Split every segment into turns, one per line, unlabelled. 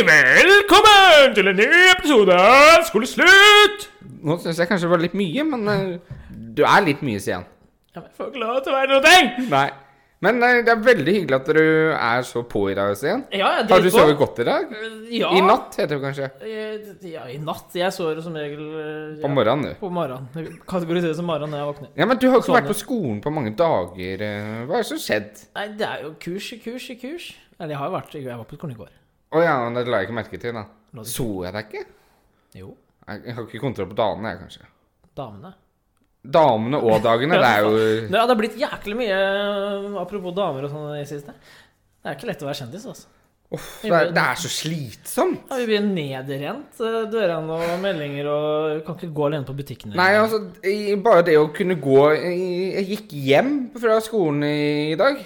Velkommen til en ny episode av Skoleslutt!
Nå syns jeg kanskje det var litt mye, men eh, du er litt mye, sier han.
Jeg får ikke lov til å være noe ting!
Nei. Men eh, det er veldig hyggelig at du er så på i dag, Sten.
Ja, jeg
Har du
driver
sovet godt i dag?
Ja.
I natt, heter det kanskje.
Eh, Ja, i natt. Jeg sover som regel eh, ja,
Om morgenen, du.
På morgenen. Kategoriseres som morgen når jeg våkner.
Ja, men du har jo ikke
Sånn,
vært på skolen på mange dager. eh, Hva er det som skjedde?
Nei, det er jo kurs i kurs i kurs. Eller jeg har jo vært Jeg var på skolen i går.
Å ja, men det la jeg ikke merke til,
La
da.
du-
Så jeg deg ikke?
Jo.
Jeg jeg har ikke kontroll på dagene, jeg, kanskje.
Damene.
Damene og dagene, det er jo
Ja, det har blitt jæklig mye eh, apropos damer og sånn i det siste. Det er ikke lett å være kjendis, altså.
Uff, det er, det er så slitsomt.
Ja, vi blir nedrent. eh, Dørene og meldinger og Kan ikke gå alene på butikken.
Nei, altså, i- bare det å kunne gå i- Jeg gikk hjem fra skolen i, i dag,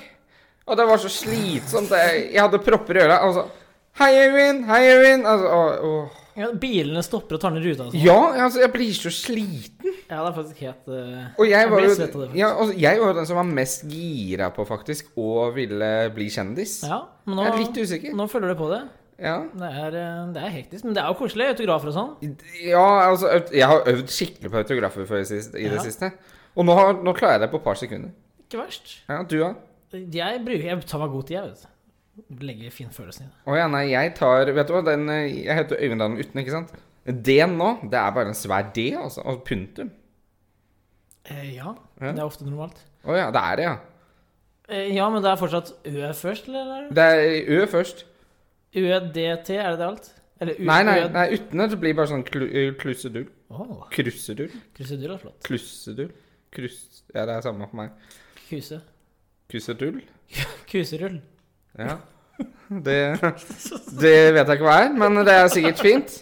og det var så slitsomt. Jeg, jeg hadde propper i øra. Altså, Hei, Øyvind! Hei, Øyvind! Altså, å, å.
Ja, bilene stopper og tar ned ruta. og sånn.
Ja, altså, jeg blir så sliten.
Ja, det er faktisk helt eh,
Og jeg
Jeg
var
blir
jo
svett av det, faktisk.
ja, altså, jeg var jo den som var mest gira på, faktisk, å ville bli kjendis.
Ja, men
Jeg er litt
nå,
usikker.
nå følger du på det.
Ja.
Det er, eh, det er hektisk, men det er jo koselig. Autografer og sånn.
ja, altså, øvd- jeg har øvd skikkelig på autografer for, i sist- i det
Ja.
siste. Og nå, har, nå klarer jeg det på et par sekunder.
Ikke verst.
Ja, du òg?
Jeg, bruker, jeg tar meg god tid, jeg. vet du. Legger finfølelsen i det.
Å ja, nei, jeg tar Vet du hva, den eh, Jeg heter Øyvind Dalen Uten, ikke sant? D-en nå, det er bare en svær D, altså. Og punktum.
Eh, ja,
Ja.
det er ofte normalt.
Å ja, det er det, ja.
Eh, ja, men det er fortsatt Ø først, eller?
Det er Ø først.
UDT, er det det alt? Eller U
Nei, nei,
Ø-
nei utene det blir bare sånn klu, eh, klusedull.
Åh,
Krusedull.
krusedull er flott.
Klusedull. Krus... Ja, det er samme for meg.
Kuse.
Krusedull.
Kuserull.
Ja. Det, det vet jeg ikke hva er, men det er sikkert fint.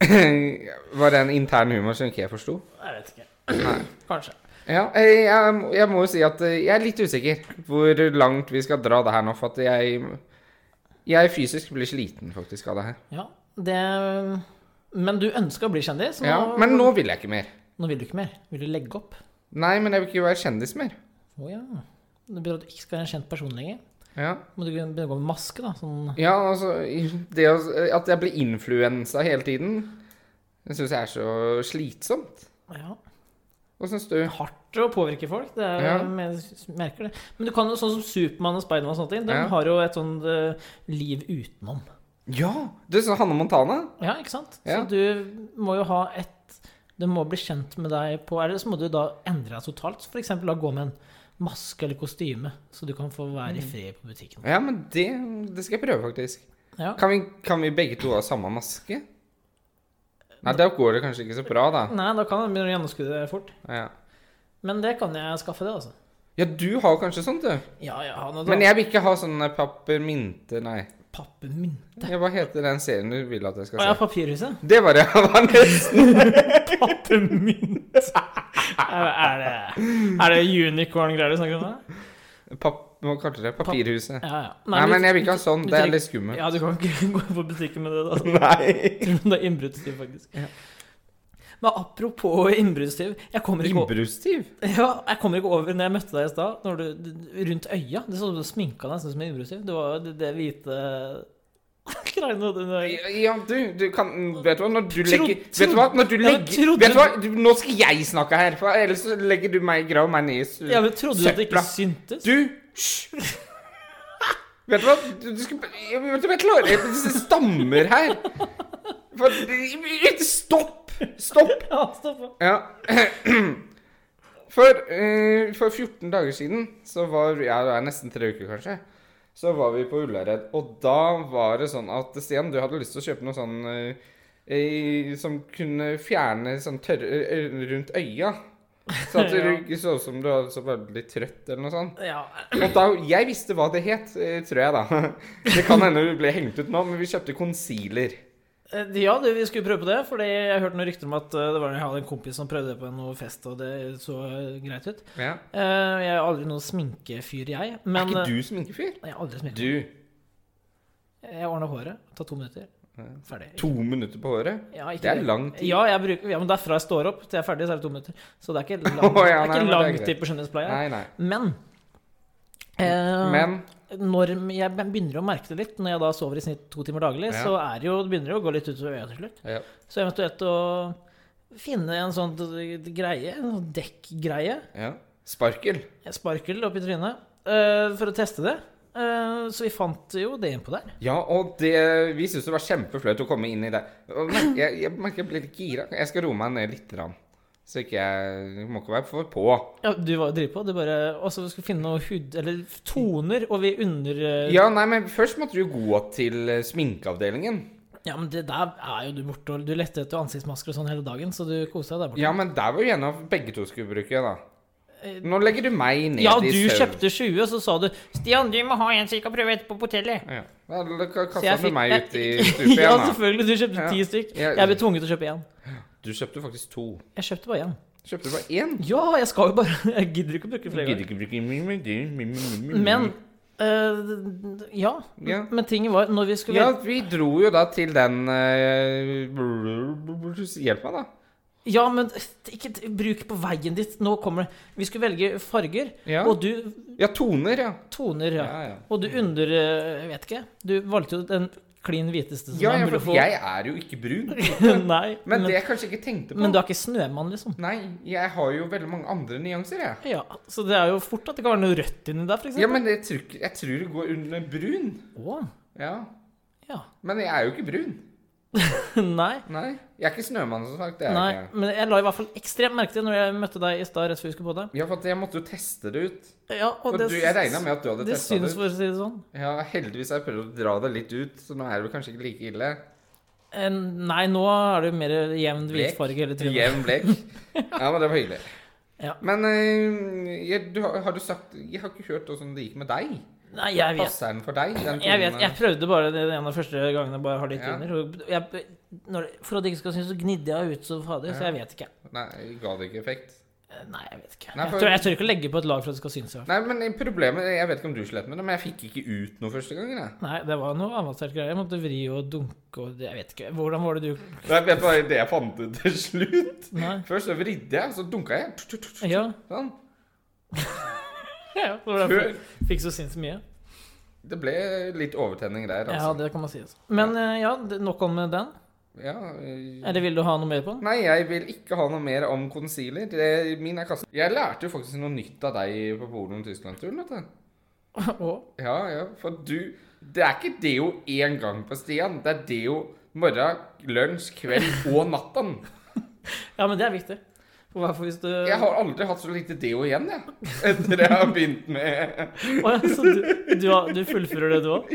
Var det en intern humor som ikke jeg forsto?
Jeg vet ikke.
Nei.
Kanskje.
Ja, eh, jeg, må- jeg må jo si at eh, jeg er litt usikker hvor langt vi skal dra det her nå, for at jeg Jeg fysisk blir sliten faktisk av det her.
Ja, det Men du ønska å bli kjendis?
Ja, men nå vil jeg ikke mer.
Nå vil du ikke mer. Vil du legge opp?
Nei, men jeg vil ikke være kjendis mer.
Å ja. Det betyr at du ikke skal være en kjent person lenger.
Ja,
Må du begynne å gå med maske, da? Sånn
ja altså i- det å, At jeg blir influensa hele tiden, det syns jeg er så slitsomt.
ja.
Hva syns du?
Hardt å påvirke folk. Det er,
Ja.
jeg merker det. Men du kan jo sånn som Supermann og Spiderman og sånne ting. De
Ja.
har jo et sånn eh, liv utenom.
Ja! Du sa Hanne Montana?
Ja, ikke sant?
Ja.
Så du må jo ha et Du må bli kjent med deg på Eller så må du da endre deg totalt. F.eks. da gå med en maske eller kostyme, så du kan få være
Mm.
i fred på butikken.
Ja, men det, det skal jeg prøve, faktisk.
Ja.
Kan vi, kan vi begge to ha samme maske? Nei, da går det kanskje ikke så bra, da.
Nei, da kan jeg begynne å gjennomskue det fort.
Ja.
Men det kan jeg skaffe, det, altså.
Ja, du har kanskje sånt, du.
Ja, jeg har noe
Men jeg vil ikke ha sånn pappermynte, nei.
Pappermynte.
Ja, Hva heter den serien du vil at
Å ja,
jeg skal se?
papirhuset.
Det var det jeg var nesten.
Pappermynt. er, er det, er det unicorn-greier du snakker om? da?
Papp, hva kalte du det? Papirhuset.
Ja, ja.
Nei, men jeg vil ikke ha
du-
sånn.
du
Det er
trenger-
litt skummelt.
Ja, du kan ikke gå på butikken med det. da.
Nei.
Jeg tror det er innbruddstyv, faktisk.
Ja.
Men apropos innbruddstyv jeg kommer, ikke over,
Innbruddstyv?
ja, jeg kommer ikke over når jeg møtte deg i stad. når du- du- Rundt øya. Det så ut som du sminka deg nesten som en innbruddstyv. Det var det, det hvite greiene under øyet.
Ja, du, du kan Vet du hva, når du
Tro-
legger Vet du hva, når du
Ja, men
legger
trodde-
Vet du hva, du, nå skal jeg snakke her, for ellers så legger du meg grav meg ned i s-
Ja, men Trodde du at det ikke
Søpla.
syntes?
Du, hysj! Vet du hva? Du, du skal, jeg, vet du hva jeg klarer jeg, Det stammer her. For, stopp! Stopp!
Ja, stopp. da.
Ja. For, eh, for 14 dager siden, så var ja, det er nesten tre uker kanskje, så var vi på Ullared. Og da var det sånn at Stian, du hadde lyst til å kjøpe noe sånn eh, eh, som kunne fjerne sånn tørre eh, rundt øya. Så at du
Ja.
ikke så ut som du var så veldig trøtt eller noe sånt.
Ja.
Og da, jeg visste hva det het, eh, tror jeg da. Det kan hende vi ble hengt ut nå, men vi kjøpte concealer.
Eh, ja, du, vi skulle prøve på det. Fordi jeg hørte noen rykter om at eh, det var, jeg hadde en kompis som prøvde det på noe fest, og det så eh, greit ut.
Ja.
Eh, Jeg er aldri noen sminkefyr, jeg. Men
er ikke
eh,
du sminkefyr?
Jeg har aldri sminket.
Du.
Jeg ordna håret. Ta to minutter.
Ja.
Ferdig.
To minutter på håret?
Ja, ikke
Det er
det.
lang tid.
Ja, jeg bruker, ja, men det er fra jeg står opp til jeg er ferdig, så er det to minutter. Så det er ikke lang,
Å, ja,
det er ikke
nei, men det er
lang
greit.
tid på skjønnhetspleie.
Nei, nei.
Men, eh,
Men
når jeg begynner å merke det litt, når jeg da sover i snitt to timer daglig,
Ja.
så er det jo, det begynner det jo å gå litt utover øya til slutt.
Ja.
Så eventuelt å finne en sånn greie, en sånn dekkgreie,
ja. Sparkel.
en sparkel oppi trynet, eh, for å teste det. Eh, så vi fant jo det innpå der.
Ja, og det, vi syntes det var kjempeflaut å komme inn i det. Og mer- Jeg, jeg merker jeg blir litt gira. Jeg skal roe meg ned litt. grann. Så ikke jeg, jeg må ikke være for på.
Ja, du var jo dritpå. Du bare Og så skulle vi finne noe hud... Eller toner, og vi under... eh,
Ja, nei, men først måtte du jo gå til eh, sminkeavdelingen.
Ja, men det der er jo du borte, og du lette etter ansiktsmasker og sånn hele dagen, så du koste deg der borte.
Ja, men der var jo en av begge to skulle bruke, da. Nå legger du meg ned
Eh, Ja,
i
du
søvn.
kjøpte 20, og så sa du 'Stian, du må ha en som vi kan prøve etterpå på hotellet'.
Ja. Da da
Så
kasta
jeg
du
fikk-
meg ut i stupet
Ja,
igjen, da.
selvfølgelig. Du kjøpte
Ja.
ti stykk.
Ja.
Jeg ble tvunget til å kjøpe én.
Du kjøpte faktisk to.
Jeg kjøpte bare én.
Kjøpte du bare én?
Ja, jeg skal jo bare Jeg gidder ikke å bruke flere
Gidder
ganger.
ikke bruke mi- mi- di- mi- mi- mi- mi-
Men eh, ja.
Ja.
Men tingen var Når vi skulle
Ja, vi dro jo da til den eh, bl- bl- bl- Hjelp meg, da.
Ja, men ikke t- bruk på veien ditt. Nå kommer det Vi skulle velge farger,
Ja.
og du
Ja, toner, ja.
toner ja.
Ja, ja.
Og du under eh, Jeg vet ikke. Du valgte jo den klin hviteste som
Ja,
er
ja,
mulig å
for
få.
jeg er jo ikke brun.
Nei,
Men
men,
det jeg kanskje ikke tenkte på
men du er ikke snømann, liksom.
Nei, jeg har jo veldig mange andre nyanser, jeg.
Ja, Så det er jo fort at det kan være noe rødt inni der, f.eks.
Ja, men jeg tror, ikke- jeg tror det går under brun.
Å,
Ja.
ja.
Men jeg er jo ikke brun.
Nei.
Nei. Jeg er ikke snømann, som sagt. Det er
Nei,
jeg ikke.
men jeg la i hvert fall ekstremt merke til når jeg møtte deg i stad rett før vi skulle på det.
Ja, for at jeg måtte jo teste det ut.
Ja, og
Og
det,
du, jeg regna med at du hadde
det
testa det
synes,
ut.
for å si det sånn.
Ja, heldigvis har jeg prøvd å dra det litt ut, så nå er det vel kanskje ikke like ille.
Eh, Nei, nå er det jo mer jevn
Blek.
hvitfarge i hele trynet.
Jevn blek. Ja, men det var hyggelig.
Ja.
Men eh, jeg, du, har har du sagt Jeg har ikke hørt åssen det gikk med deg.
Nei, jeg vet.
Passer den for deg? Den
Jeg vet,
tonen?
jeg prøvde bare det en av de første gangene bare har litt
Ja.
under. og Jeg, når, for at det ikke skal synes, så gnidde jeg ut som fader, så
Ja.
jeg vet ikke.
Nei, ga det ikke effekt?
Eh, Nei, jeg vet ikke.
Nei, for-
Jeg, tør, jeg tør ikke å legge på et lag for at det skal synes. i hvert fall.
Nei, men problemet Jeg vet ikke om du slet med det, men jeg fikk ikke ut noe første gangen. Jeg.
Nei, det var noe avansert greier. Jeg måtte vri og dunke og Jeg vet ikke. Hvordan var det du
Det er bare det jeg fant ut til slutt.
Nei.
Først så vridde jeg, så dunka jeg. Tut, tut, tut,
Ja.
Sånn.
ja det var derfor jeg fikk så sinnssykt mye.
Det ble litt overtenning der,
Ja,
altså.
det kan man si. altså. Men eh, ja, det- nok om den.
Ja, eh,
Eller vil du ha noe mer på den?
Nei, jeg vil ikke ha noe mer om concealer. Det, min er kassen. Jeg lærte jo faktisk noe nytt av deg på Polen-Tyskland-turen. vet du.
Å,
Ja, ja, for du Det er ikke deo én gang på Stian. Det er deo morgen, lunsj, kveld og natten.
ja, men det er viktig. For Hvorfor hvis du
Jeg har aldri hatt så lite deo igjen, jeg. Etter jeg har begynt med
Å, ja, så du, du, har- du fullfører det, du òg?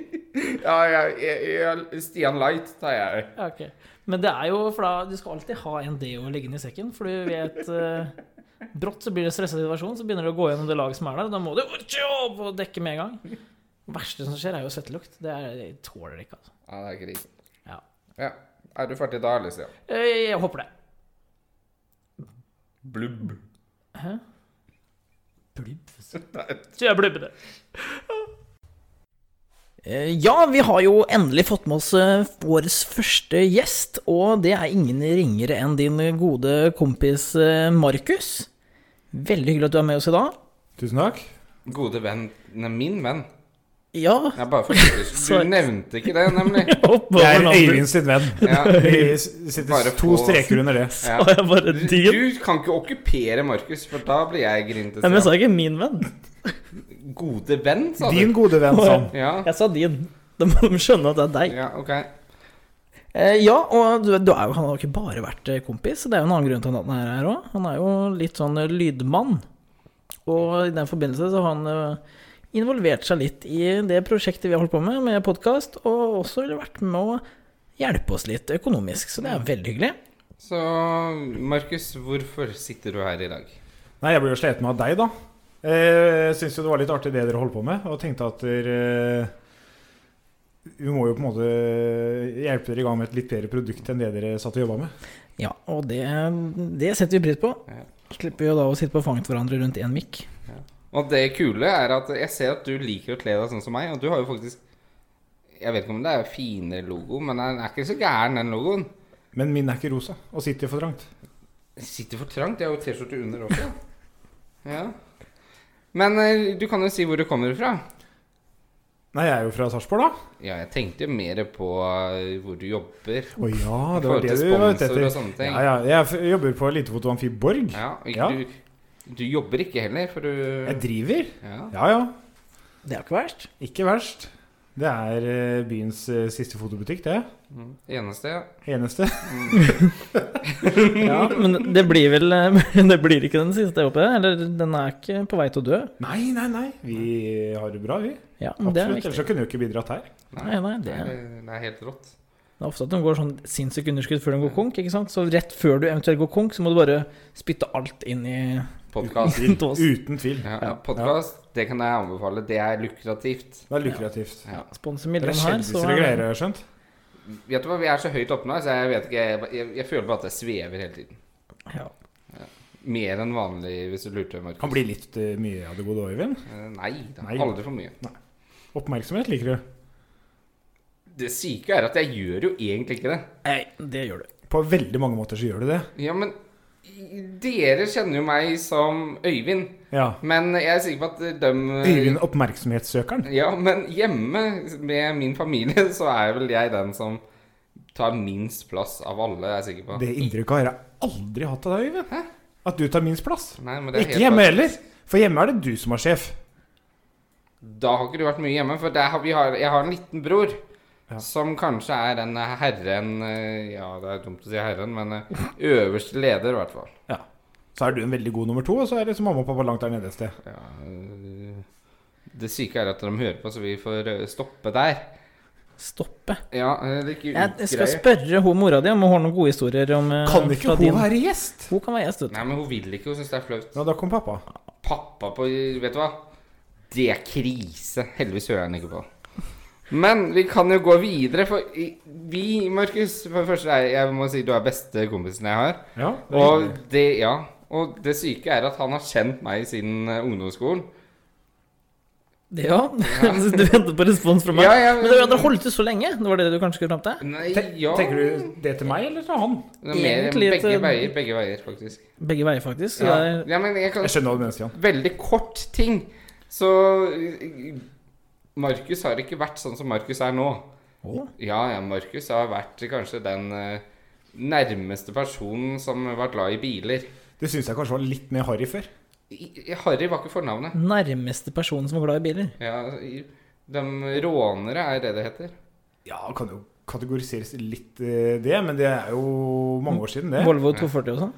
Ja, jeg, jeg, jeg, Stian Light tar jeg.
Ja, ok. Men det er jo for da Du skal alltid ha en deo liggende i sekken, for du vet eh, Brått så blir det stressa situasjon, så begynner du å gå gjennom det laget som er der. og Da må du opp og dekke med en gang. Det verste som skjer, er jo svettelukt. Det er, jeg tåler ikke, altså.
Ja, det er krig.
Ja.
ja. Er du ferdig da, eller, Stian?
Eh, Jeg, jeg håper det.
Blubb.
Hæ? Blubb?
Nei.
Så jeg ble med det. Eh, Ja, vi har jo endelig fått med oss eh, vår første gjest, og det er ingen ringere enn din gode kompis eh, Markus. Veldig hyggelig at du er med oss i dag.
Tusen takk.
Gode venn Nei, min venn.
Ja.
Jeg er bare for
Sorry.
Du nevnte ikke det, nemlig.
Jeg er Øyvind sitt venn.
Ja.
Vi s- sitter
Bare
to
få-
streker under det.
Ja.
Sa jeg bare
Du,
din?
du kan ikke okkupere Markus, for da blir jeg grinte.
Nei, men jeg
Stian.
sa ikke min venn.
Gode venn, sa du.
Din gode venn Sam.
Ja,
Jeg sa din. Da må de skjønne at det er deg.
ja ok.
Eh, Ja, og du, du er jo, han har jo ikke bare vært eh, kompis, det er jo en annen grunn til at han er her òg. Han er jo litt sånn eh, lydmann. Og i den forbindelse så har han eh, involvert seg litt i det prosjektet vi har holdt på med, med podkast, og også vært med å hjelpe oss litt økonomisk, så det er veldig hyggelig.
Så Markus, hvorfor sitter du her i dag?
Nei, jeg ble jo sliten av deg, da. Jeg syns jo det var litt artig det dere holdt på med, og tenkte at dere eh, Vi må jo på en måte hjelpe dere i gang med et litt bedre produkt enn det dere satt og jobba med.
Ja, og det, det setter vi pris på.
Ja.
Slipper jo da å sitte på fanget hverandre rundt én mikk.
Og det kule er at jeg ser at du liker å kle deg sånn som meg, og du har jo faktisk Jeg vet ikke om det er fine logo, men den er ikke så gæren, den logoen.
Men min er ikke rosa, og sitter for trangt.
Den sitter for trangt. Jeg har jo T-skjorte under også. Ja. Men eh, du kan jo si hvor du kommer fra.
Nei, jeg er jo fra Sarpsborg, da.
Ja, jeg tenkte jo mer på eh, hvor du jobber.
Å ja,
I
det var
forhold
det
til
du var ute
sponsor og
etter.
sånne ting.
Ja, ja, jeg f- jobber på Elitefoto Amfi Borg.
Ja, og ikke,
Ja.
Du, du jobber ikke heller, for
Jeg
du
driver.
ja.
Ja ja,
Det er jo ikke verst.
ikke verst. Det er eh, byens eh, siste fotobutikk, det.
Mm. Eneste, ja.
Eneste.
Ja, men det blir vel eh, Det blir ikke den siste, jeg håper jeg. Eller den er ikke på vei til å dø.
Nei, nei, nei. Vi har det bra, vi.
Ja, men Mm, det er
Absolutt. Ellers
viktig.
så kunne vi jo ikke bidratt her.
Nei, nei, det-
det, det er helt rått.
Det er ofte at de går sånn sinnssykt underskudd før de går konk. ikke sant? Så rett før du eventuelt går konk, så må du bare spytte alt inn i
Podkast.
tås.
Uten tvil.
Ja, ja, podcast, det kan jeg anbefale. Det er lukrativt.
Det er lukrativt.
Ja.
Sponse
Det er
Mildren her, så
kjendiser og greier, har jeg skjønt.
Vet du hva, vi er så høyt oppe nå, så jeg vet ikke Jeg, jeg, jeg føler bare at jeg svever hele tiden.
Ja.
Mer enn vanlig, hvis du lurte, Markus.
Kan bli litt eh, mye av det gode, Øyvind.
Eh, Nei da.
Nei.
Aldri for mye.
Oppmerksomhet liker du.
Det syke er at jeg gjør jo egentlig ikke det.
Nei, det gjør du.
På veldig mange måter så gjør du det.
Ja, men i- dere kjenner jo meg som Øyvind.
Ja.
Men jeg er sikker på at de
Øyvind oppmerksomhetssøkeren.
Ja, men hjemme med min familie så er vel jeg den som tar minst plass av alle, jeg er sikker på.
Det inntrykket har jeg aldri hatt av deg, Øyvind.
Hæ?
At du tar minst plass.
Nei, men det er
Ikke
helt
hjemme
klart.
heller. For hjemme er det du som er sjef.
Da har ikke du vært mye hjemme, for der har vi har, jeg har en liten bror.
Ja.
Som kanskje er den herren eh, Ja, det er dumt å si herren, men eh, øverste leder, i hvert fall.
Så er du en veldig god nummer to, og så er liksom mamma og pappa langt der nede et sted.
Ja, eh, det syke er at de hører på, så vi får eh, stoppe der.
Stoppe.
Ja, eh, det er ikke
Jeg skal
utgreie.
spørre hun mora di om hun har noen gode historier om eh,
Kan ikke
fra
hun være gjest?
Hun kan være gjest, vet du.
Nei, men hun vil ikke. Hun syns det er flaut.
Ja, da kom pappa.
Pappa på Vet du hva? Det er krise. Heldigvis hører jeg den ikke på. Men vi kan jo gå videre, for i- vi, Markus For det første, er- jeg må si du er beste kompisen jeg har.
Ja, det er
Og
hyggelig.
det, ja, og det syke er at han har kjent meg siden eh, ungdomsskolen.
Ja. du venter på respons fra meg.
Ja, ja,
Men dere- dere holdt ut så lenge? Det var det du kanskje skulle fram til?
Nei,
Ten-
ja
Tenker du eh, det til meg eller til han?
Det er mer,
egentlig et-
begge, veier, begge veier, faktisk.
Begge veier, faktisk. Så
Ja.
det er
ja, men jeg kan
Jeg skjønner hva du mener, Stian.
Veldig kort ting. Så eh, Markus har ikke vært sånn som Markus er nå.
Å.
Ja, ja, Markus har vært kanskje den eh, nærmeste personen som var glad i biler.
Det syns jeg kanskje var litt mer harry før.
I- Harry var ikke fornavnet.
nærmeste personen som var glad i biler.
Ja, i- de rånere er det det heter.
Ja, kan jo kategoriseres litt eh, det, men det er jo mange år siden, det.
Volvo 240 og sånn.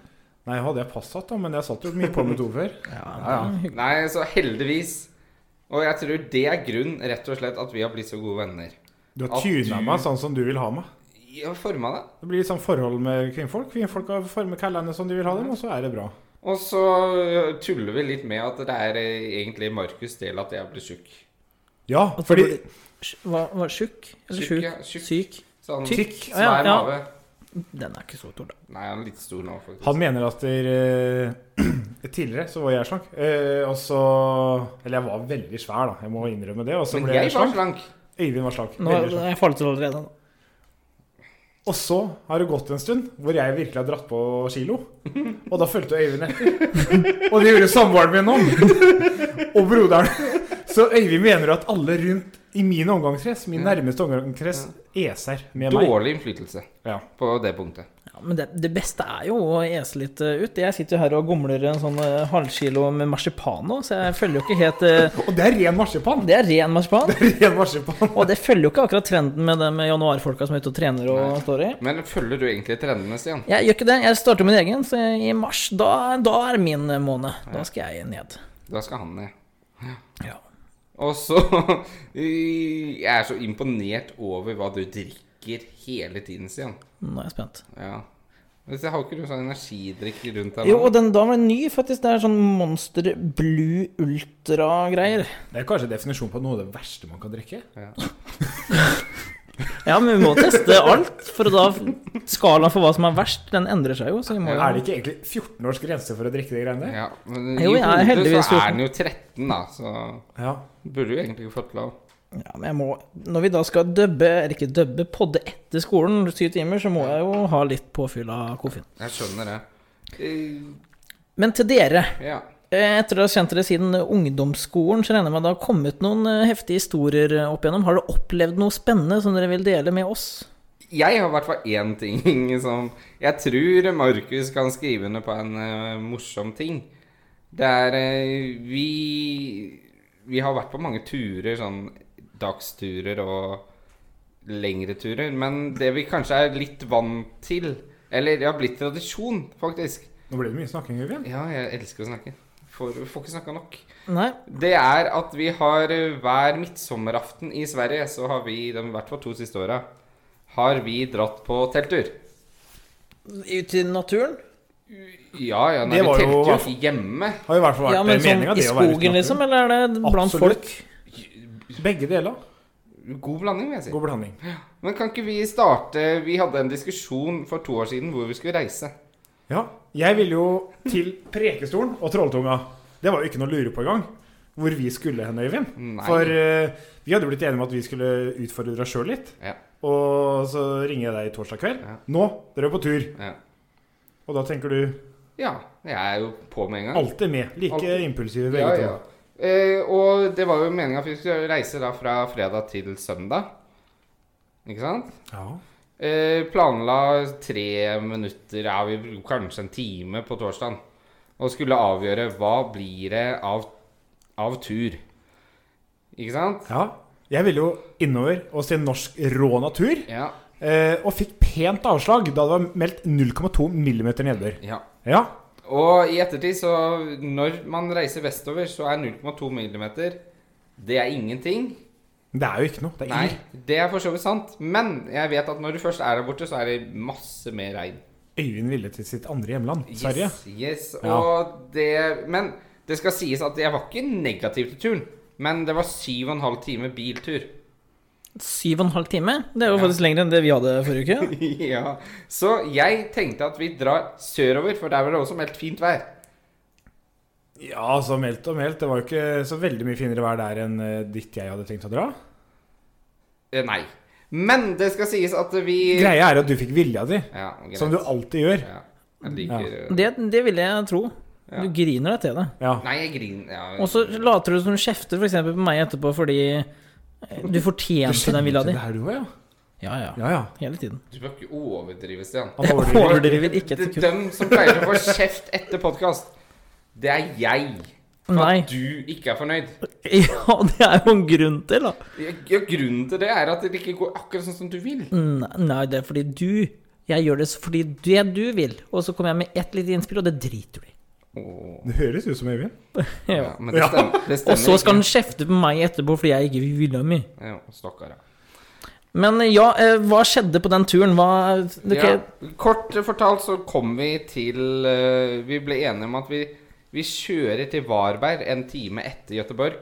Nei, hadde jeg passet da, men jeg satt jo mye på med to før.
Ja,
Ja, ja.
det er
Nei, så heldigvis. Og jeg tror det er grunnen, rett og slett, at vi har blitt så gode venner.
Du har
At
tuna
du-
meg sånn som du vil ha meg.
Ja, forma det.
Det blir litt sånn forhold med kvinnfolk. Kvinnfolk har formet kallene som de vil ha dem, og så er det bra.
Og så tuller vi litt med at det er eh, egentlig Markus' del at jeg ble tjukk.
Ja,
At
fordi
det sj- Hva var tjukk? Eller
Tjukk,
sjuk?
ja, tjukk.
Syk?
Sånn
Tykk,
svær
ja, ja.
mage.
Den er ikke så stor, da.
Nei, han er litt stor nå, faktisk.
han mener at der, eh, Tidligere så var jeg slank. Eh, og så Eller jeg var veldig svær, da. Jeg må innrømme det. Og så
Men
ble
jeg
jeg
var
slank.
slank.
Øyvind var slank.
Nå
Veldig slank.
jeg falt til allerede. nå.
Og så har det gått en stund hvor jeg virkelig har dratt på kilo. Og da fulgte Øyvind etter. Og det gjorde samboeren min òg. Og broderen. Så Øyvind mener at alle rundt i min omgangskrets, min
Ja.
nærmeste omgangskrets, eser med meg.
Dårlig innflytelse
Ja.
på det punktet.
Ja, men det, det beste er jo å ese litt eh, ut. Jeg sitter jo her og gomler en sånn eh, halvkilo med marsipan nå, så jeg følger jo ikke helt eh,
Og det er ren marsipan!
Det er ren marsipan.
Ren marsipan.
Og det følger jo ikke akkurat trenden med de januarfolka som er ute og trener og
Nei.
står i.
Men følger du egentlig trendene, Stian?
Jeg gjør ikke det. Jeg starter min egen, så i mars, da, da er min eh, måned. Da skal jeg ned.
Da skal han ned.
Ja.
Og så Jeg er så imponert over hva du drikker hele tiden, Stian.
Nå er jeg spent.
Ja. Men så har ikke du sånn energidrikk rundt deg?
Jo, og den da var ny, faktisk. Det er sånn Monster Blue Ultra-greier.
Det er kanskje definisjonen på noe av det verste man kan drikke.
Ja.
Ja, men vi må teste alt, for da skalaen for hva som er verst, den endrer seg jo. Så vi må
Er
jo
det ikke egentlig 14 års grense for å drikke de greiene der?
Ja, men
Jo,
i
jeg er
hodet
heldigvis
så er
sulten.
han jo 13, da, så
Ja.
burde jo egentlig ikke fått lov.
ja, men jeg må, Når vi da skal dubbe, eller ikke dubbe, podde etter skolen syv timer, så må jeg jo ha litt påfyll av koffein.
Jeg skjønner det. Eh,
Men til dere,
Ja.
Eh, Etter å ha kjent dere siden ungdomsskolen, så regner jeg med det har kommet noen eh, heftige historier eh, opp igjennom. Har dere opplevd noe spennende som dere vil dele med oss?
Jeg har i hvert fall én ting som Jeg tror Markus kan skrive under på en eh, morsom ting. Det er eh, Vi Vi har vært på mange turer, sånn dagsturer og lengre turer. Men det vi kanskje er litt vant til, eller det har blitt tradisjon, faktisk
Nå ble det mye snakking, Jørgen.
Ja, jeg elsker å snakke. Får, får ikke snakka nok.
Nei?
Det er at vi har eh, hver midtsommeraften i Sverige, så har vi de i hvert fall to siste åra, har vi dratt på telttur.
Ut i naturen?
Ja, ja, nei,
Det
vi
var jo
telter jo
hvert
ikke hjemme.
Har jo i hvert fall vært
Ja, men sånn
meninga
i
det å være ute i
skogen, liksom?
naturen.
Eller er det blant
Absolutt.
folk?
Begge deler.
God blanding, vil jeg si.
God blanding.
Men kan ikke vi starte Vi hadde en diskusjon for to år siden hvor vi skulle reise.
Ja. Jeg ville jo til Prekestolen og Trolltunga. Det var jo ikke noe å lure på engang. Hvor vi skulle hen, Øyvind.
Nei.
For eh, vi hadde jo blitt enige om at vi skulle utfordre oss sjøl litt.
Ja,
Og så ringer jeg deg torsdag kveld.
Ja.
Nå, dere er på tur.
ja.
Og da tenker du
ja, jeg er jo på med en gang.
alltid med. Like
Alltid.
impulsive begge
Ja,
to.
ja. Eh, og det var jo meninga at vi skulle reise da fra fredag til søndag. Ikke sant?
Ja.
Eh, planla tre minutter, ja, vi brukte kanskje en time på torsdagen, og skulle avgjøre hva blir det av, av tur. Ikke sant?
ja. Jeg ville jo innover og se norsk rå natur,
Ja.
eh, og fikk pent avslag da det var meldt 0,2 millimeter nedbør.
ja.
Ja.
Og i ettertid, så når man reiser vestover, så er 0,2 millimeter Det er ingenting.
Det er jo ikke noe. Det er
Nei,
ild.
det er for så vidt sant. Men jeg vet at når du først er der borte, så er det masse mer regn.
Øyvind ville til sitt andre hjemland,
Yes,
Sverige.
Yes,
Ja.
og det Men det skal sies at jeg var ikke negativ til turen. Men det var syv og en halv time biltur.
Syv og en halv time? Det er jo
Ja.
faktisk lenger enn det vi hadde forrige uke.
ja. Så jeg tenkte at vi drar sørover, for der var det også meldt fint vær.
Ja, så meldt og meldt. Det var jo ikke så veldig mye finere vær der enn eh, dit jeg hadde tenkt å dra.
Eh, nei. Men det skal sies at vi
Greia er at du fikk vilja di,
Ja, greit.
som du alltid gjør.
ja, Jeg liker
Det, det vil jeg tro.
Ja.
Du griner deg til det.
Ja.
Nei, jeg griner ja.
Og så later du som du kjefter f.eks. på meg etterpå fordi eh, du fortjente den villa di.
det her du òg, ja?
Ja, ja.
Ja, ja.
Hele tiden.
Du bør ikke overdrive, Stian.
Han overdriver.
Overdriver ikke et sekund.
De som pleier å få kjeft etter podkast, det er jeg. For
Nei.
at du ikke er fornøyd.
Ja, det er jo en grunn til, da.
Ja, ja, grunnen til det er at det ikke går akkurat sånn som du vil.
Nei, nei, det er fordi du Jeg gjør det fordi det du vil, og så kommer jeg med ett lite innspill, og det driter du i.
Åh,
Det høres ut som Øyvind.
ja,
Ja.
men det
Ja.
stemmer. Det stemmer
Og så skal
ikke.
han kjefte på meg etterpå fordi jeg ikke vil villa mi.
ja, Stakkar, ja.
Men ja, eh, hva skjedde på den turen? Hva ok,
ja. Kort fortalt så kom vi til eh, Vi ble enige om at vi, vi kjører til Varberg en time etter Gøteborg.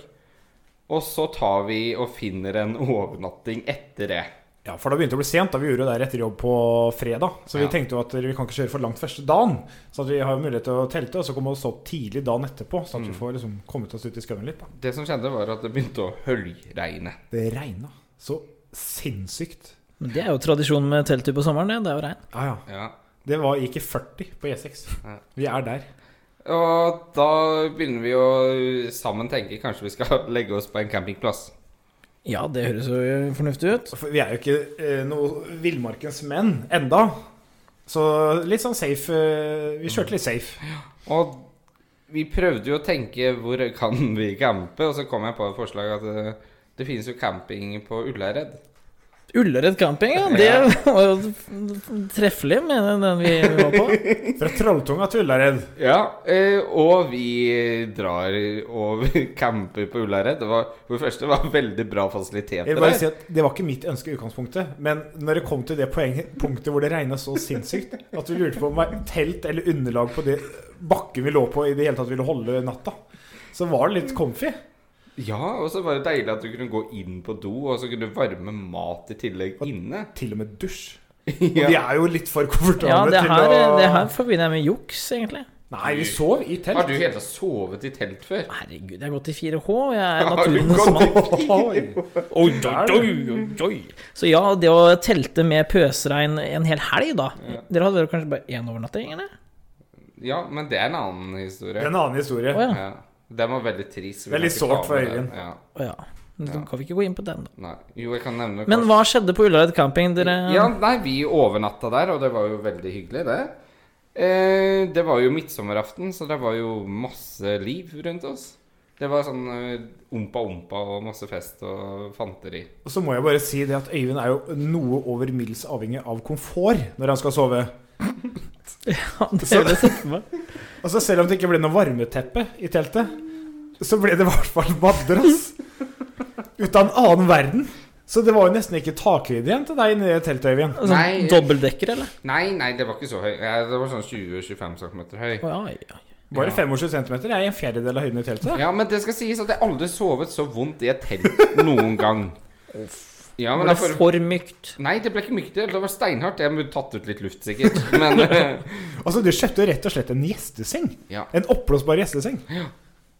Og så tar vi og finner en overnatting etter det.
Ja, for det begynte å bli sent. da Vi gjorde det der etter jobb på fredag. Så vi
Ja.
tenkte jo at vi kan ikke kjøre for langt første dagen. Så at vi har mulighet til å telte, og så komme oss opp tidlig dagen etterpå. Så
Mm.
at vi får liksom kommet oss ut i skauen litt. da.
Det som skjedde, var at det begynte å høljregne.
Det regna så sinnssykt.
Men Det er jo tradisjon med telttur på sommeren, det. Det er jo regn.
Ja, ja.
Ja.
Det var, gikk i 40 på E6.
Ja.
Vi er der.
Og da begynner vi å eh, sammen tenke kanskje vi skal legge oss på en campingplass.
Ja, det høres jo fornuftig ut.
For vi er jo ikke eh, noe villmarkens menn enda. Så litt sånn safe. Eh, vi kjørte litt safe.
Og vi prøvde jo å tenke hvor kan vi campe, og så kom jeg på et forslag at eh, det finnes jo camping på Ullared.
Ullared camping, ja. Det var jo f- treffelig med den- den vi var på.
Fra Trolltunga til Ullared.
Ja, eh, og vi drar og camper på Ullared. Det var for det første var det veldig bra
Jeg
fasiliteter
vil bare si
der.
at Det var ikke mitt ønske i utgangspunktet, men når det kom til det poenget, punktet hvor det regna så sinnssykt at vi lurte på om telt eller underlag på det bakken vi lå på, i det hele tatt ville holde natta, så var det litt comfy.
Ja, og så var det deilig at du kunne gå inn på do, og så kunne du varme mat i tillegg inne.
Til og med dusj. Og vi
Ja.
er jo litt for
Ja,
komfortable
det her, eh,
til å
det her forbinder jeg med juks, egentlig.
Nei, vi sov i telt.
Har du hele tatt sovet i telt før?
Herregud, jeg har gått i 4H, og jeg er
Har du
naturens
gått-
mann.
Oi.
Oi, oi, oi, oi, oi. Så ja, det å telte med pøsregn en hel helg, da Dere hadde vel kanskje bare én overnatting, eller?
Ja, men det er en annen historie.
Det er en annen historie.
Å ja.
Ja. Den var veldig trist. Vi
Veldig
kan ikke
sårt for
ta med den.
Øyvind.
Ja.
Å ja. Men Da
Ja.
kan vi ikke gå inn på den, da.
Nei. Jo, jeg kan nevne
Men hva skjedde på Ullared camping? Dere
Ja, nei, vi overnatta der, og det var jo veldig hyggelig, det. Eh, det var jo midtsommeraften, så det var jo masse liv rundt oss. Det var sånn eh, ompa-ompa og masse fest og fanteri.
Og så må jeg bare si det at Øyvind er jo noe over middels avhengig av komfort når han skal sove.
det er det samme.
Altså Selv om det ikke ble noe varmeteppe i teltet, så ble det i hvert fall madrass ut av en annen verden. Så det var jo nesten ikke takhøyde igjen til deg inni det teltet, Øyvind.
Sånn
Nei.
dobbeltdekker, eller?
Nei, nei, det var ikke så høy. Ja, det var sånn 20-25 cm høy.
Å, ja, ja.
Bare
Ja.
25 cm er en fjerdedel av høyden i teltet.
Ja, men det skal sies at jeg aldri sovet så vondt i et telt noen gang. Ja, men
Var det
derfor
for mykt?
Nei, det ble ikke mykt. Det var steinhardt. Jeg burde tatt ut litt luft, sikkert. Men eh,
Altså, du kjøpte jo rett og slett en gjesteseng.
ja,
En oppblåsbar gjesteseng.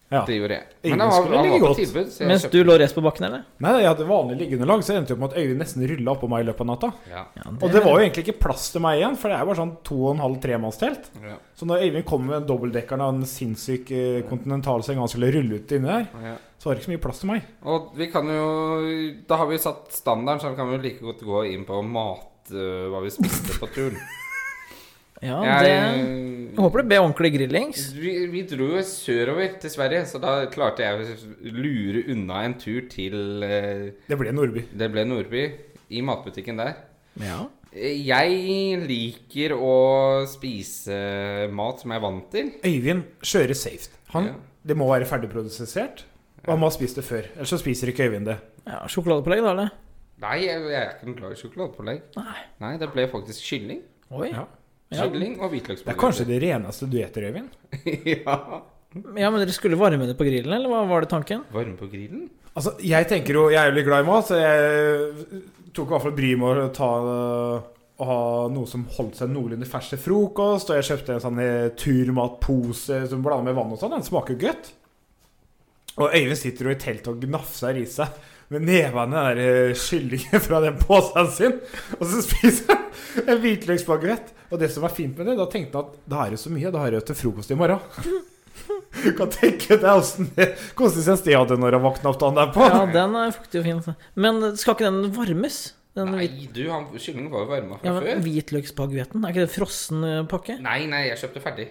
Ja.
det gjorde jeg.
Ingen
Men han var,
skulle
han var
ligge
på
godt.
tilbud, så jeg
Mens du lå rest på bakken, eller?
Nei, jeg hadde vanlig liggeunderlag, så jeg endte jo opp med at Øyvind nesten rulla oppå meg i løpet av natta.
Ja.
Ja,
Og det var jo egentlig ikke plass til meg igjen, for det er jo bare sånn 2,5-tremannstelt.
Ja.
Så når Øyvind kom med en dobbeltdekkeren av en sinnssyk eh, kontinentalseng han skulle rulle ut inni der,
Ja.
så var det ikke så mye plass til meg.
Og vi kan jo Da har vi satt standarden, så kan vi jo like godt gå inn på mat øh, Hva vi spiste på turen.
Ja, det... Jeg
Jeg, øh,
håper det ble ordentlig grillings.
vi, vi dro jo sørover til Sverige, så da klarte jeg å lure unna en tur til eh,
Det ble Nordby.
Det ble Nordby, i matbutikken der.
Ja.
Eh, Jeg liker å spise mat som jeg er vant til.
Øyvind kjører safe. Han,
Ja.
Det må være ferdigprodusert, og han må ha spist det før. Ellers så spiser ikke Øyvind det.
ja Sjokoladepålegg, da, eller?
Nei, jeg, jeg er ikke noe glad i sjokoladepålegg.
Nei.
Nei, det ble faktisk kylling.
Oi.
Ja.
Ja.
Kylling og
Det er
hvitløkspålegg.
kanskje det reneste du eter, Øyvind.
ja.
Ja, men dere skulle varme det på grillen, eller hva var det tanken?
Varme på grillen?
Altså, jeg tenker jo, jeg er jo litt glad i mat, så jeg tok i hvert fall bryet med å ta eh, å ha noe som holdt seg noenlunde fersk til frokost. Og jeg kjøpte en sånn eh, turmatpose som blander med vann og sånn. Den smaker jo godt. Og Øyvind sitter jo i teltet og gnafser i seg med nevene den der eh, kyllingen fra den posen sin. Og så spiser han en hvitløksbaguett. Og det som var fint med det, da tenkte han at da er det så mye, da har jeg jo til frokost i morgen. Du kan tenke deg åssen konsistens det hadde når han våkna opp dagen derpå.
Ja, den er fuktig og fin. Men skal ikke den varmes? Den
Nei,
hvit...
du, han, kyllingen var jo varma fra
ja, men
før.
Hvitløksbaguetten, er ikke det frossen eh, pakke?
Nei, nei, jeg kjøpte ferdig.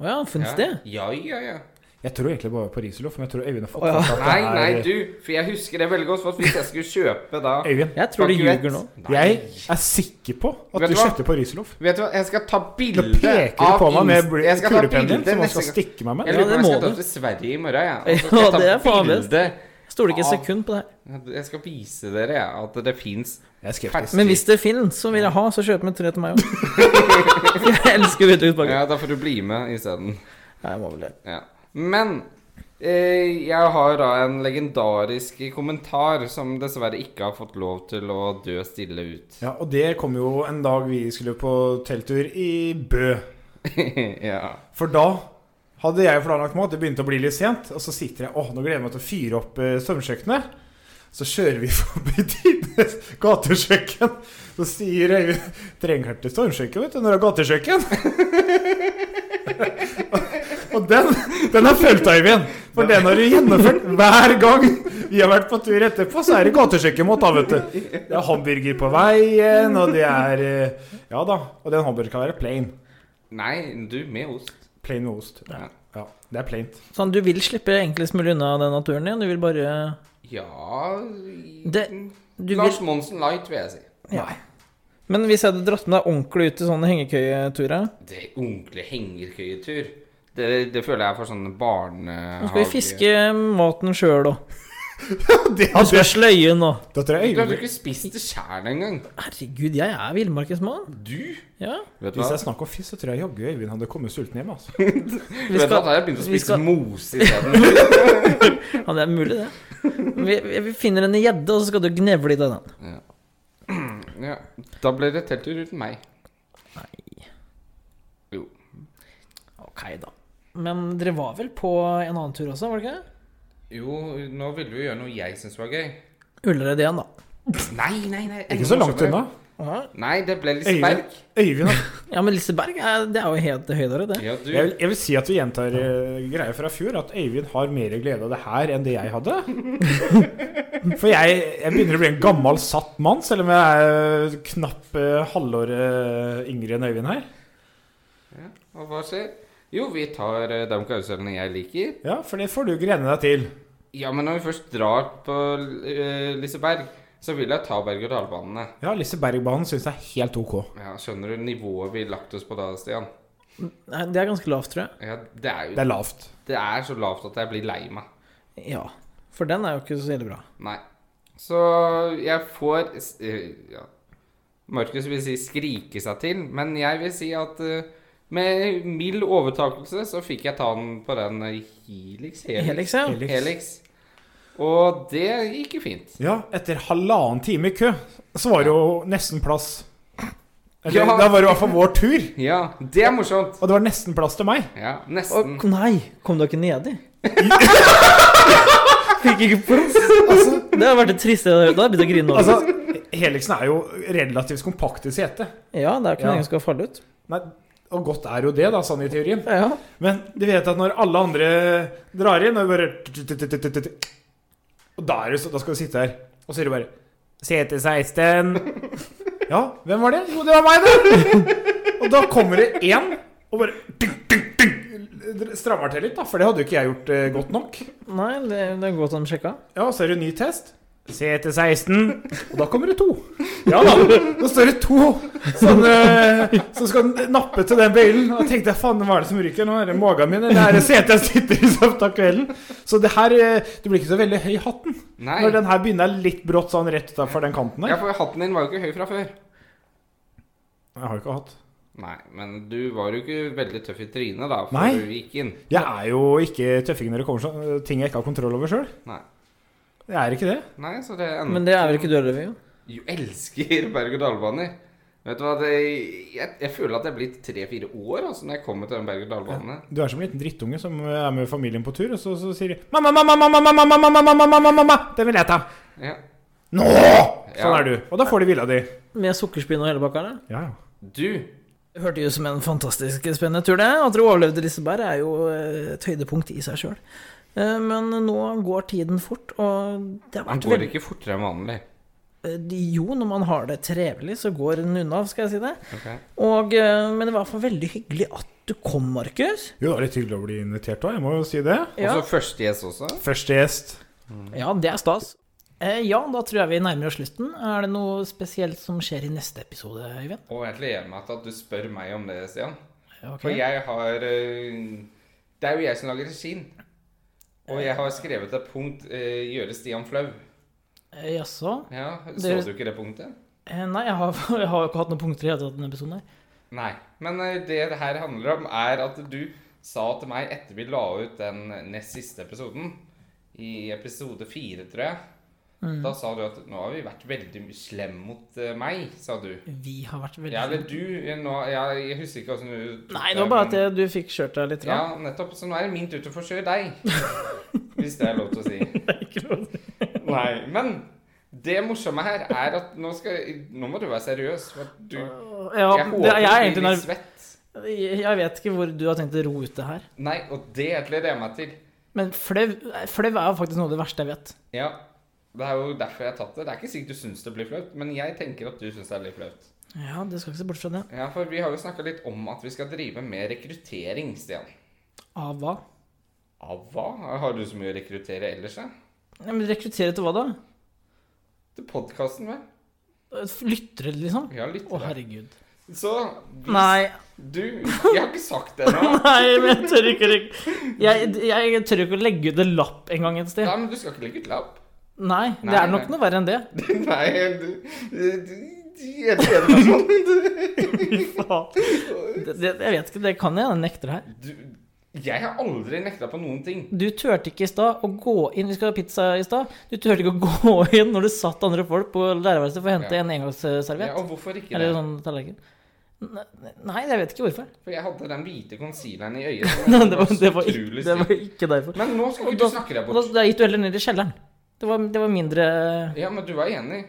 Å ja, fins
ja.
det?
Ja, ja, ja.
Jeg tror egentlig bare på Risoloff, men jeg tror Øyvind har fått
Å, ja.
med seg at
Nei,
det
nei,
er-
du, for jeg husker det veldig godt. For at hvis jeg skulle kjøpe da
Øyvind,
Jeg tror de
Baguette.
ljuger nå.
Nei.
jeg er sikker på at
Vet
du
du hva?
kjøpte på Risoloff.
Vet du hva, jeg skal ta
Nå
bilde
peker du på meg med
Inst-
bl-
Jeg skal ta
kulependelen
bilde
som han skal
neste gang.
stikke meg med.
Jeg
Ja,
lurer på
det
om jeg
må
skal
du.
ta til Sverige i morgen, jeg.
Ja,
Og så skal jeg ta
det er faen
bilde.
Stoler ikke et
Ah.
sekund på det her.
Jeg skal vise dere ja, at det fins
Jeg er skeptisk.
Men hvis det finnes, så vil jeg ha, så kjøp med tre til meg òg. jeg elsker hvitløksbaguett.
Ja, da får du bli med isteden.
Ja, jeg må vel det.
Ja. Men eh, jeg har da en legendarisk kommentar som dessverre ikke har fått lov til å dø stille ut.
Ja, og det kom jo en dag vi skulle på telttur i Bø.
ja.
For da hadde jeg planlagt mat, det begynte å bli litt sent, og så sitter jeg åh, nå gleder jeg meg til å fyre opp eh, strømkjøkkenet. Så kjører vi forbi tidenes gatekjøkken. Så sier Øyvind 'Trenger ikke stormkjøkken, vet du, når det er gatekjøkken'. og og den, den har fulgt Øyvind. For den har du gjennomført hver gang vi har vært på tur etterpå. Så er det gatekjøkken mot, da, vet du. Det er hamburger på veien, og det er eh, Ja da. Og den hamburgeren kan være plain.
Nei, du, med ost.
Plain med ost.
Ja.
Ja, det er plaint.
Sånn, du vil slippe enklest mulig unna den naturen din. Du vil bare
Ja
Det- du
Lars
vil...
Monsen Light, vil jeg si.
Ja. Men hvis jeg hadde dratt med deg ordentlig ut i sånne hengekøyeturer
Det er ordentlig hengerkøyetur. Det, det føler jeg er for sånn sånne barnehage...
Nå skal vi fiske maten sjøl òg.
Det
Du skal
hadde
sløye nå.
Da tror jeg
Du hadde
Øyvind
ikke spist det sjæl engang.
Herregud, jeg er villmarkesmann.
Du?
Ja.
Vet du
Hvis
hva?
det er snakk om fisk, så tror jeg jaggu Øyvind hadde kommet sulten hjem. Altså.
Vi
Vet du
skal,
at jeg begynte
vi
å spise
skal-
mose isteden?
ja, det er mulig, det. Vi, vi finner en gjedde, og så skal du gnevle i deg den.
ja. Da ble det telttur uten meg.
Nei.
Jo.
Ok, da. Men dere var vel på en annen tur også, var det ikke? det?
Jo, nå ville vi gjøre noe jeg syns var gøy.
Ullared igjen, da.
Nei, nei, nei.
Ikke så langt unna.
Å Aha.
Nei, det ble
Øyvind,
Liseberg.
Øyvind har
Ja, men Liseberg er, det er jo helt høydere, det.
Ja, du.
Jeg vil, jeg vil si at vi gjentar eh, greia fra fjor, at Øyvind har mer glede av det her enn det jeg hadde. For jeg, jeg begynner å bli en gammel, satt mann, selv om jeg er knapp eh, halvåret yngre enn Øyvind her.
Ja, og hva skjer? Jo, vi tar eh, de karuselene jeg liker.
Ja, for det får du grene deg til.
Ja, men når vi først drar på eh, Liseberg, så vil jeg ta berg-og-dal-banene.
Ja, Lisebergbanen syns jeg er helt ok.
Ja, skjønner du nivået vi lagt oss på da, Stian?
Nei, det er ganske lavt, tror jeg.
Ja, det er
Det
jo
er lavt.
det er så lavt at jeg blir lei meg.
Ja. For den er jo ikke så ille bra.
Nei. Så jeg får s- eh, ja. Markus vil si skrike seg til, men jeg vil si at eh, med mild overtakelse så fikk jeg ta den på den eh, Helix. Helix.
Helix, ja.
Helix.
Helix. Og det gikk jo fint.
Ja, etter halvannen time i kø, så var det jo nesten plass. Eller,
Ja.
Da var det i hvert fall vår tur.
Ja, det er morsomt.
Og det var nesten plass til meg.
Ja,
Å,
nesten.
nei! Kom dere nedi? Fikk ikke plass. det har vært det triste jeg har hørt. Da har jeg begynt å grine. over det.
Altså, Helixen er jo relativt kompakt i setet.
Ja, det er ikke
Ja.
noe som skal falle ut.
Nei, og godt er jo det, da, sånn i teorien.
Ja, ja.
Men du vet at når alle andre drar inn, og bare tut-tut-tut-tut-tut, Og da, er det, så- da skal du sitte her, og så er det bare CT16 Ja, hvem var det? Jo, det var meg, det! Og da kommer det én og bare ding, ding, ding, strammer til litt, da, for det hadde jo ikke jeg gjort eh, godt nok.
Nei, det, det er godt han sjekka.
Ja, så er det en ny test. CT16. Og da kommer det to. Ja da, nå står det to som, eh, som skal nappe til den bøylen. Og jeg tenkte faen, hva er det som ryker nå? Er det magen min, eller er det CT jeg sitter i samt av kvelden? Så det her eh, Du blir ikke så veldig høy i hatten
Nei.
når den her begynner litt brått sånn rett utafor den kanten
Ja,
der.
for hatten din var jo ikke høy fra før.
Jeg har jo ikke hatt.
Nei, men du var jo ikke veldig tøff i trynet da, før
Nei.
du gikk inn.
Jeg er jo ikke tøffing når det kommer sånn ting jeg ikke har kontroll over sjøl.
Nei.
Jeg er ikke det.
Nei, så det endte
Men det er vel ikke du heller, Vivian?
Jo, elsker berg-og-dal-baner. Vet du hva, det, jeg, jeg føler at jeg er blitt tre-fire år altså, når jeg kommer til den berg-og-dal-banen.
Du er som en liten drittunge som er med familien på tur, og så, så sier de mamma, mamma, mamma, mamma, mamma, mamma, mamma, mamma, mamma, den vil jeg ta.
Ja.
Nå! Sånn
Ja.
er du. Og da får de villa di.
Med sukkerspinn og hele bakka? eller?
Ja, ja.
Du,
Det Hørte jo som en fantastisk spennende tur, det. At dere overlevde Liseberg, er jo eh, et høydepunkt i seg sjøl. Men nå går tiden fort, og det har
han
vært
går
veldig
ikke fortere enn vanlig.
Eh, Jo, når man har det trevelig, så går den unna, skal jeg si det.
Ok.
Og, eh, men det var i hvert fall veldig hyggelig at du kom, Markus.
Jo, det var litt hyggelig å bli invitert òg, jeg må jo si det.
Og så
Ja.
første gjest også.
Første gjest.
Mm. ja, det er stas. Eh, Ja, da tror jeg vi nærmer oss slutten. Er det noe spesielt som skjer i neste episode, Øyvind?
Og jeg gleder meg til at du spør meg om det, Stian.
Ok.
For jeg har øh, Det er jo jeg som lager regien. Og jeg har skrevet et punkt øh, 'Gjøre Stian flau'.
Eh, Jaså?
Ja, Så
Det-
du ikke det punktet?
Eh, Nei, jeg har, jeg har jo ikke hatt noen punkter i hele tatt denne episoden. her.
Nei. Men eh, det det her handler om, er at du sa til meg etter vi la ut den nest siste episoden, i episode fire, tror jeg,
Mm.
da sa du at nå har vi vært veldig my- slem mot eh, meg, sa du.
Vi har vært veldig
Ja, eller du eh, nå, jeg, jeg husker ikke åssen du tok
Nei, det var bare at jeg- du fikk kjørt deg litt.
men- Ja,
Ja.
nettopp. Så nå er det min tur til å forsøke deg. Hvis det er lov til å si. Nei, men det morsomme her er at nå skal Nå må du være seriøs. For at du, jeg
Ja, det, jeg, er
du
egentlig nerv...
blir litt svett.
Jeg jeg vet ikke hvor du har tenkt å roe ut det her.
Nei, og det gleder jeg meg til.
Men flau flau er jo faktisk noe av det verste jeg vet.
Ja, Det er jo derfor jeg har tatt det. Det er ikke sikkert du syns det blir flaut, men jeg tenker at du syns det er litt flaut.
Ja, det skal ikke se bort fra det.
Ja, for vi har jo snakka litt om at vi skal drive med rekruttering, Stian.
Av hva?
Av hva? Har du så mye å rekruttere ellers, da?
Nei, men Rekruttere til hva da?
Til podkasten, vel?
Lyttere, liksom?
Ja,
Å,
lyttere.
herregud.
Så hvis
Nei,
du Jeg har ikke sagt det ennå.
nei, men jeg tør ikke rek- jeg, jeg tør ikke å legge ut en lapp en gang et sted.
Nei, men du skal ikke legge ut lapp.
Nei, det
Nei,
er nok
nei.
noe verre enn det.
Nei, du, du, du, jeg gleder meg sånn.
Det, det, jeg vet ikke, det kan jeg. Jeg nekter her.
Du, jeg har aldri nekta på noen ting.
Du turte ikke i stad å gå inn Vi skal ha pizza i stad. Du turte ikke å gå inn når det satt andre folk på lærerværelset for å hente
Ja.
en
Ja,
engangsserviett.
og hvorfor ikke det?
Eller sånn tallerken. Ne- Nei, jeg vet ikke hvorfor.
For jeg hadde den hvite concealeren i øyet.
Det
som
var, det var,
utrolig
ikke, det var
stygg.
ikke derfor.
Men nå skal
Og
ikke
da-
du snakke deg
Da,
bort.
da gikk du heller ned i kjelleren. Det var, det var mindre
Ja, men du var enig.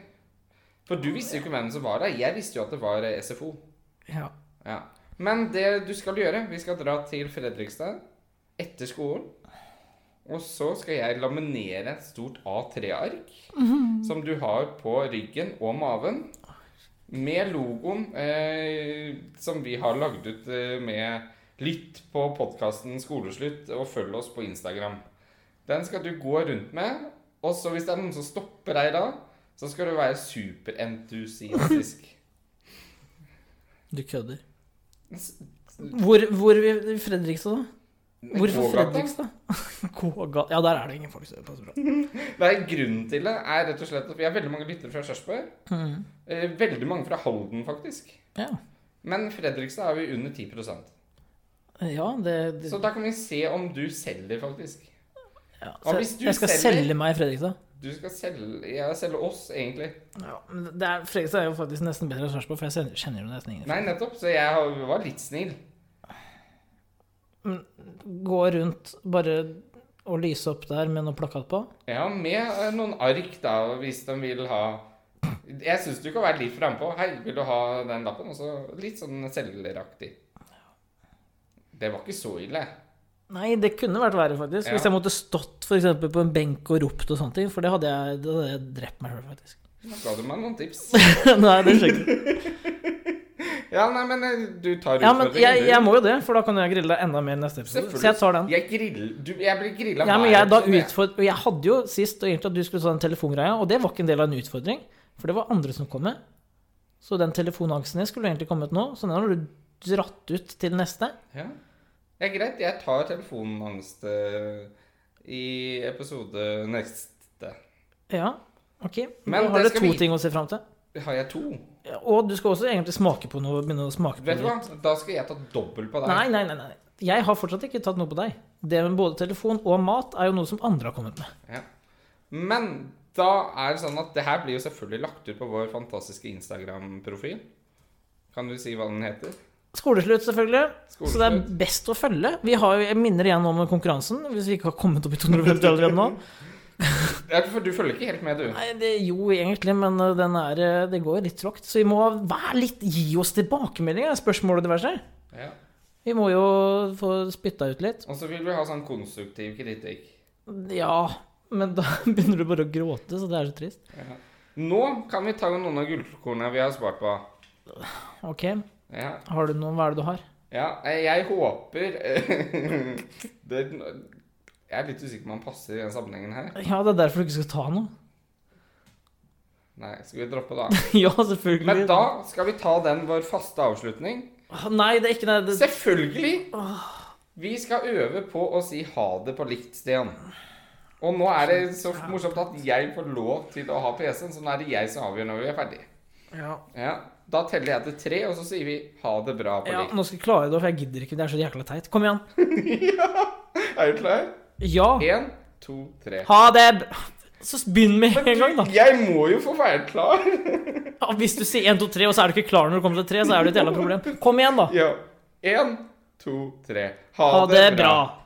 For du visste jo ikke hvem som var der. Jeg visste jo at det var eh, SFO.
Ja.
Ja. Men det du skal gjøre Vi skal dra til Fredrikstad etter skolen. Og så skal jeg laminere et stort A3-ark
Mhm.
som du har på ryggen og maven. Med logoen eh, som vi har lagd ut eh, med 'Lytt på podkasten Skoleslutt' og følg oss på Instagram. Den skal du gå rundt med. Og så hvis det er noen som stopper deg da, så skal du være superentusiastisk.
Du kødder. Hvor, hvor i Fredrikstad, da? Hvorfor
Gågata?
Fredrikstad? Gågata Ja, der er det ingen folk som passer bra.
Nei, grunnen til det er rett og slett at vi har veldig mange lyttere fra Sarpsborg.
Mhm.
Eh, Veldig mange fra Halden, faktisk.
Ja.
Men Fredrikstad er vi under 10
ja, det, det
Så da kan vi se om du selger, faktisk.
ja.
og
Så
hvis du
Jeg skal
selger-
selge meg i Fredrikstad.
Du skal selge Ja, selge oss, egentlig.
Ja, men det er, Fredrikstad er jo faktisk nesten bedre enn Sarpsborg, for jeg sen- kjenner jo nesten ingen.
Nei, nettopp. Så jeg har- var litt snill.
Gå rundt bare og lyse opp der med noe plakat på.
Ja, med eh, noen ark, da, hvis de vil ha Jeg syns du kan være litt frampå. Hei, vil du ha den lappen? Og så litt sånn selgeraktig. Det var ikke så ille.
Nei, det kunne vært verre, faktisk.
Ja.
Hvis jeg måtte stått for eksempel, på en benk og ropt og sånne ting. For det hadde jeg, det hadde jeg drept meg sjøl, faktisk.
Ga du meg noen tips?
Nei, det skjer ikke.
Ja, nei, men eh, du tar
Ja, men
utfordringen,
jeg,
du.
jeg må jo det, for da kan jeg grille deg enda mer i neste episode.
Selvfølgelig.
Så jeg tar den.
Jeg, grill, du, jeg blir grilla
Ja, men jeg, da utford... og jeg hadde jo sist og egentlig at du skulle ta den telefongreia, og det var ikke en del av en utfordring, for det var andre som kom med. Så den telefonangsten din skulle jo egentlig kommet nå, så den har du dratt ut til neste.
Ja. ja, greit. Jeg tar telefonangst eh, i episode neste.
Ja, ok.
Men
Men har
det
du
skal
to
vi-
ting å se fram til.
Har jeg to?
Ja, Og du skal også egentlig smake på noe, begynne å smake på
Vet du
noe.
hva? Da skal jeg ta dobbelt på deg.
Mm. Nei, nei, nei, nei. Jeg har fortsatt ikke tatt noe på deg. Det med både telefon og mat er jo noe som andre har kommet med.
Ja. Men da er det sånn at det her blir jo selvfølgelig lagt ut på vår fantastiske Instagram-profil. Kan du si hva den heter?
Skoleslutt, selvfølgelig. Så det er
Skoleslutt.
best å følge. Vi har jo, jeg minner igjen om konkurransen, hvis vi ikke har kommet opp i 250 allerede nå.
Ja, for du følger ikke helt med, du.
Nei, det, jo, egentlig, men eh, den er, eh, det går litt tråkt. Så vi må være litt, gi oss tilbakemeldinger, spørsmål og diverse.
Ja.
Vi må jo få spytta ut litt.
Og så vil vi ha sånn konstruktiv kritikk.
Ja, men da begynner du bare å gråte, så det er så trist.
Ja. Nå kan vi ta noen av gullkornene vi har spart på.
Ok,
Ja,
har du noe, hva er det du har?
ja eh, jeg håper det, Jeg er litt usikker på om han passer i den sammenhengen her.
Ja, det er derfor du ikke skal ta noe.
Nei, skal vi droppe da?
ja, selvfølgelig.
Men da skal vi ta den vår faste avslutning.
Åh, Nei, det er ikke nei, det.
Selvfølgelig! Vi skal øve på å si ha det på likt, Stian. Og nå er det så morsomt at jeg får lov til å ha PC-en, så nå er det jeg som avgjør når vi er ferdig.
Ja.
Ja, Da teller jeg til tre, og så sier vi ha det bra på
ja,
likt.
nå skal jeg klare det, for jeg gidder ikke. Det er så jækla teit. Kom igjen.
Er du klar?
Ja.
Én, to, tre.
Ha det bra. Så begynn med en gang, da.
Jeg må jo få være klar.
Ja, hvis du sier 1, 2, 3, og så er du ikke klar når du kommer til 3, så er det et jævla problem. Kom igjen, da.
Ja. Én, to, tre.
Ha det bra.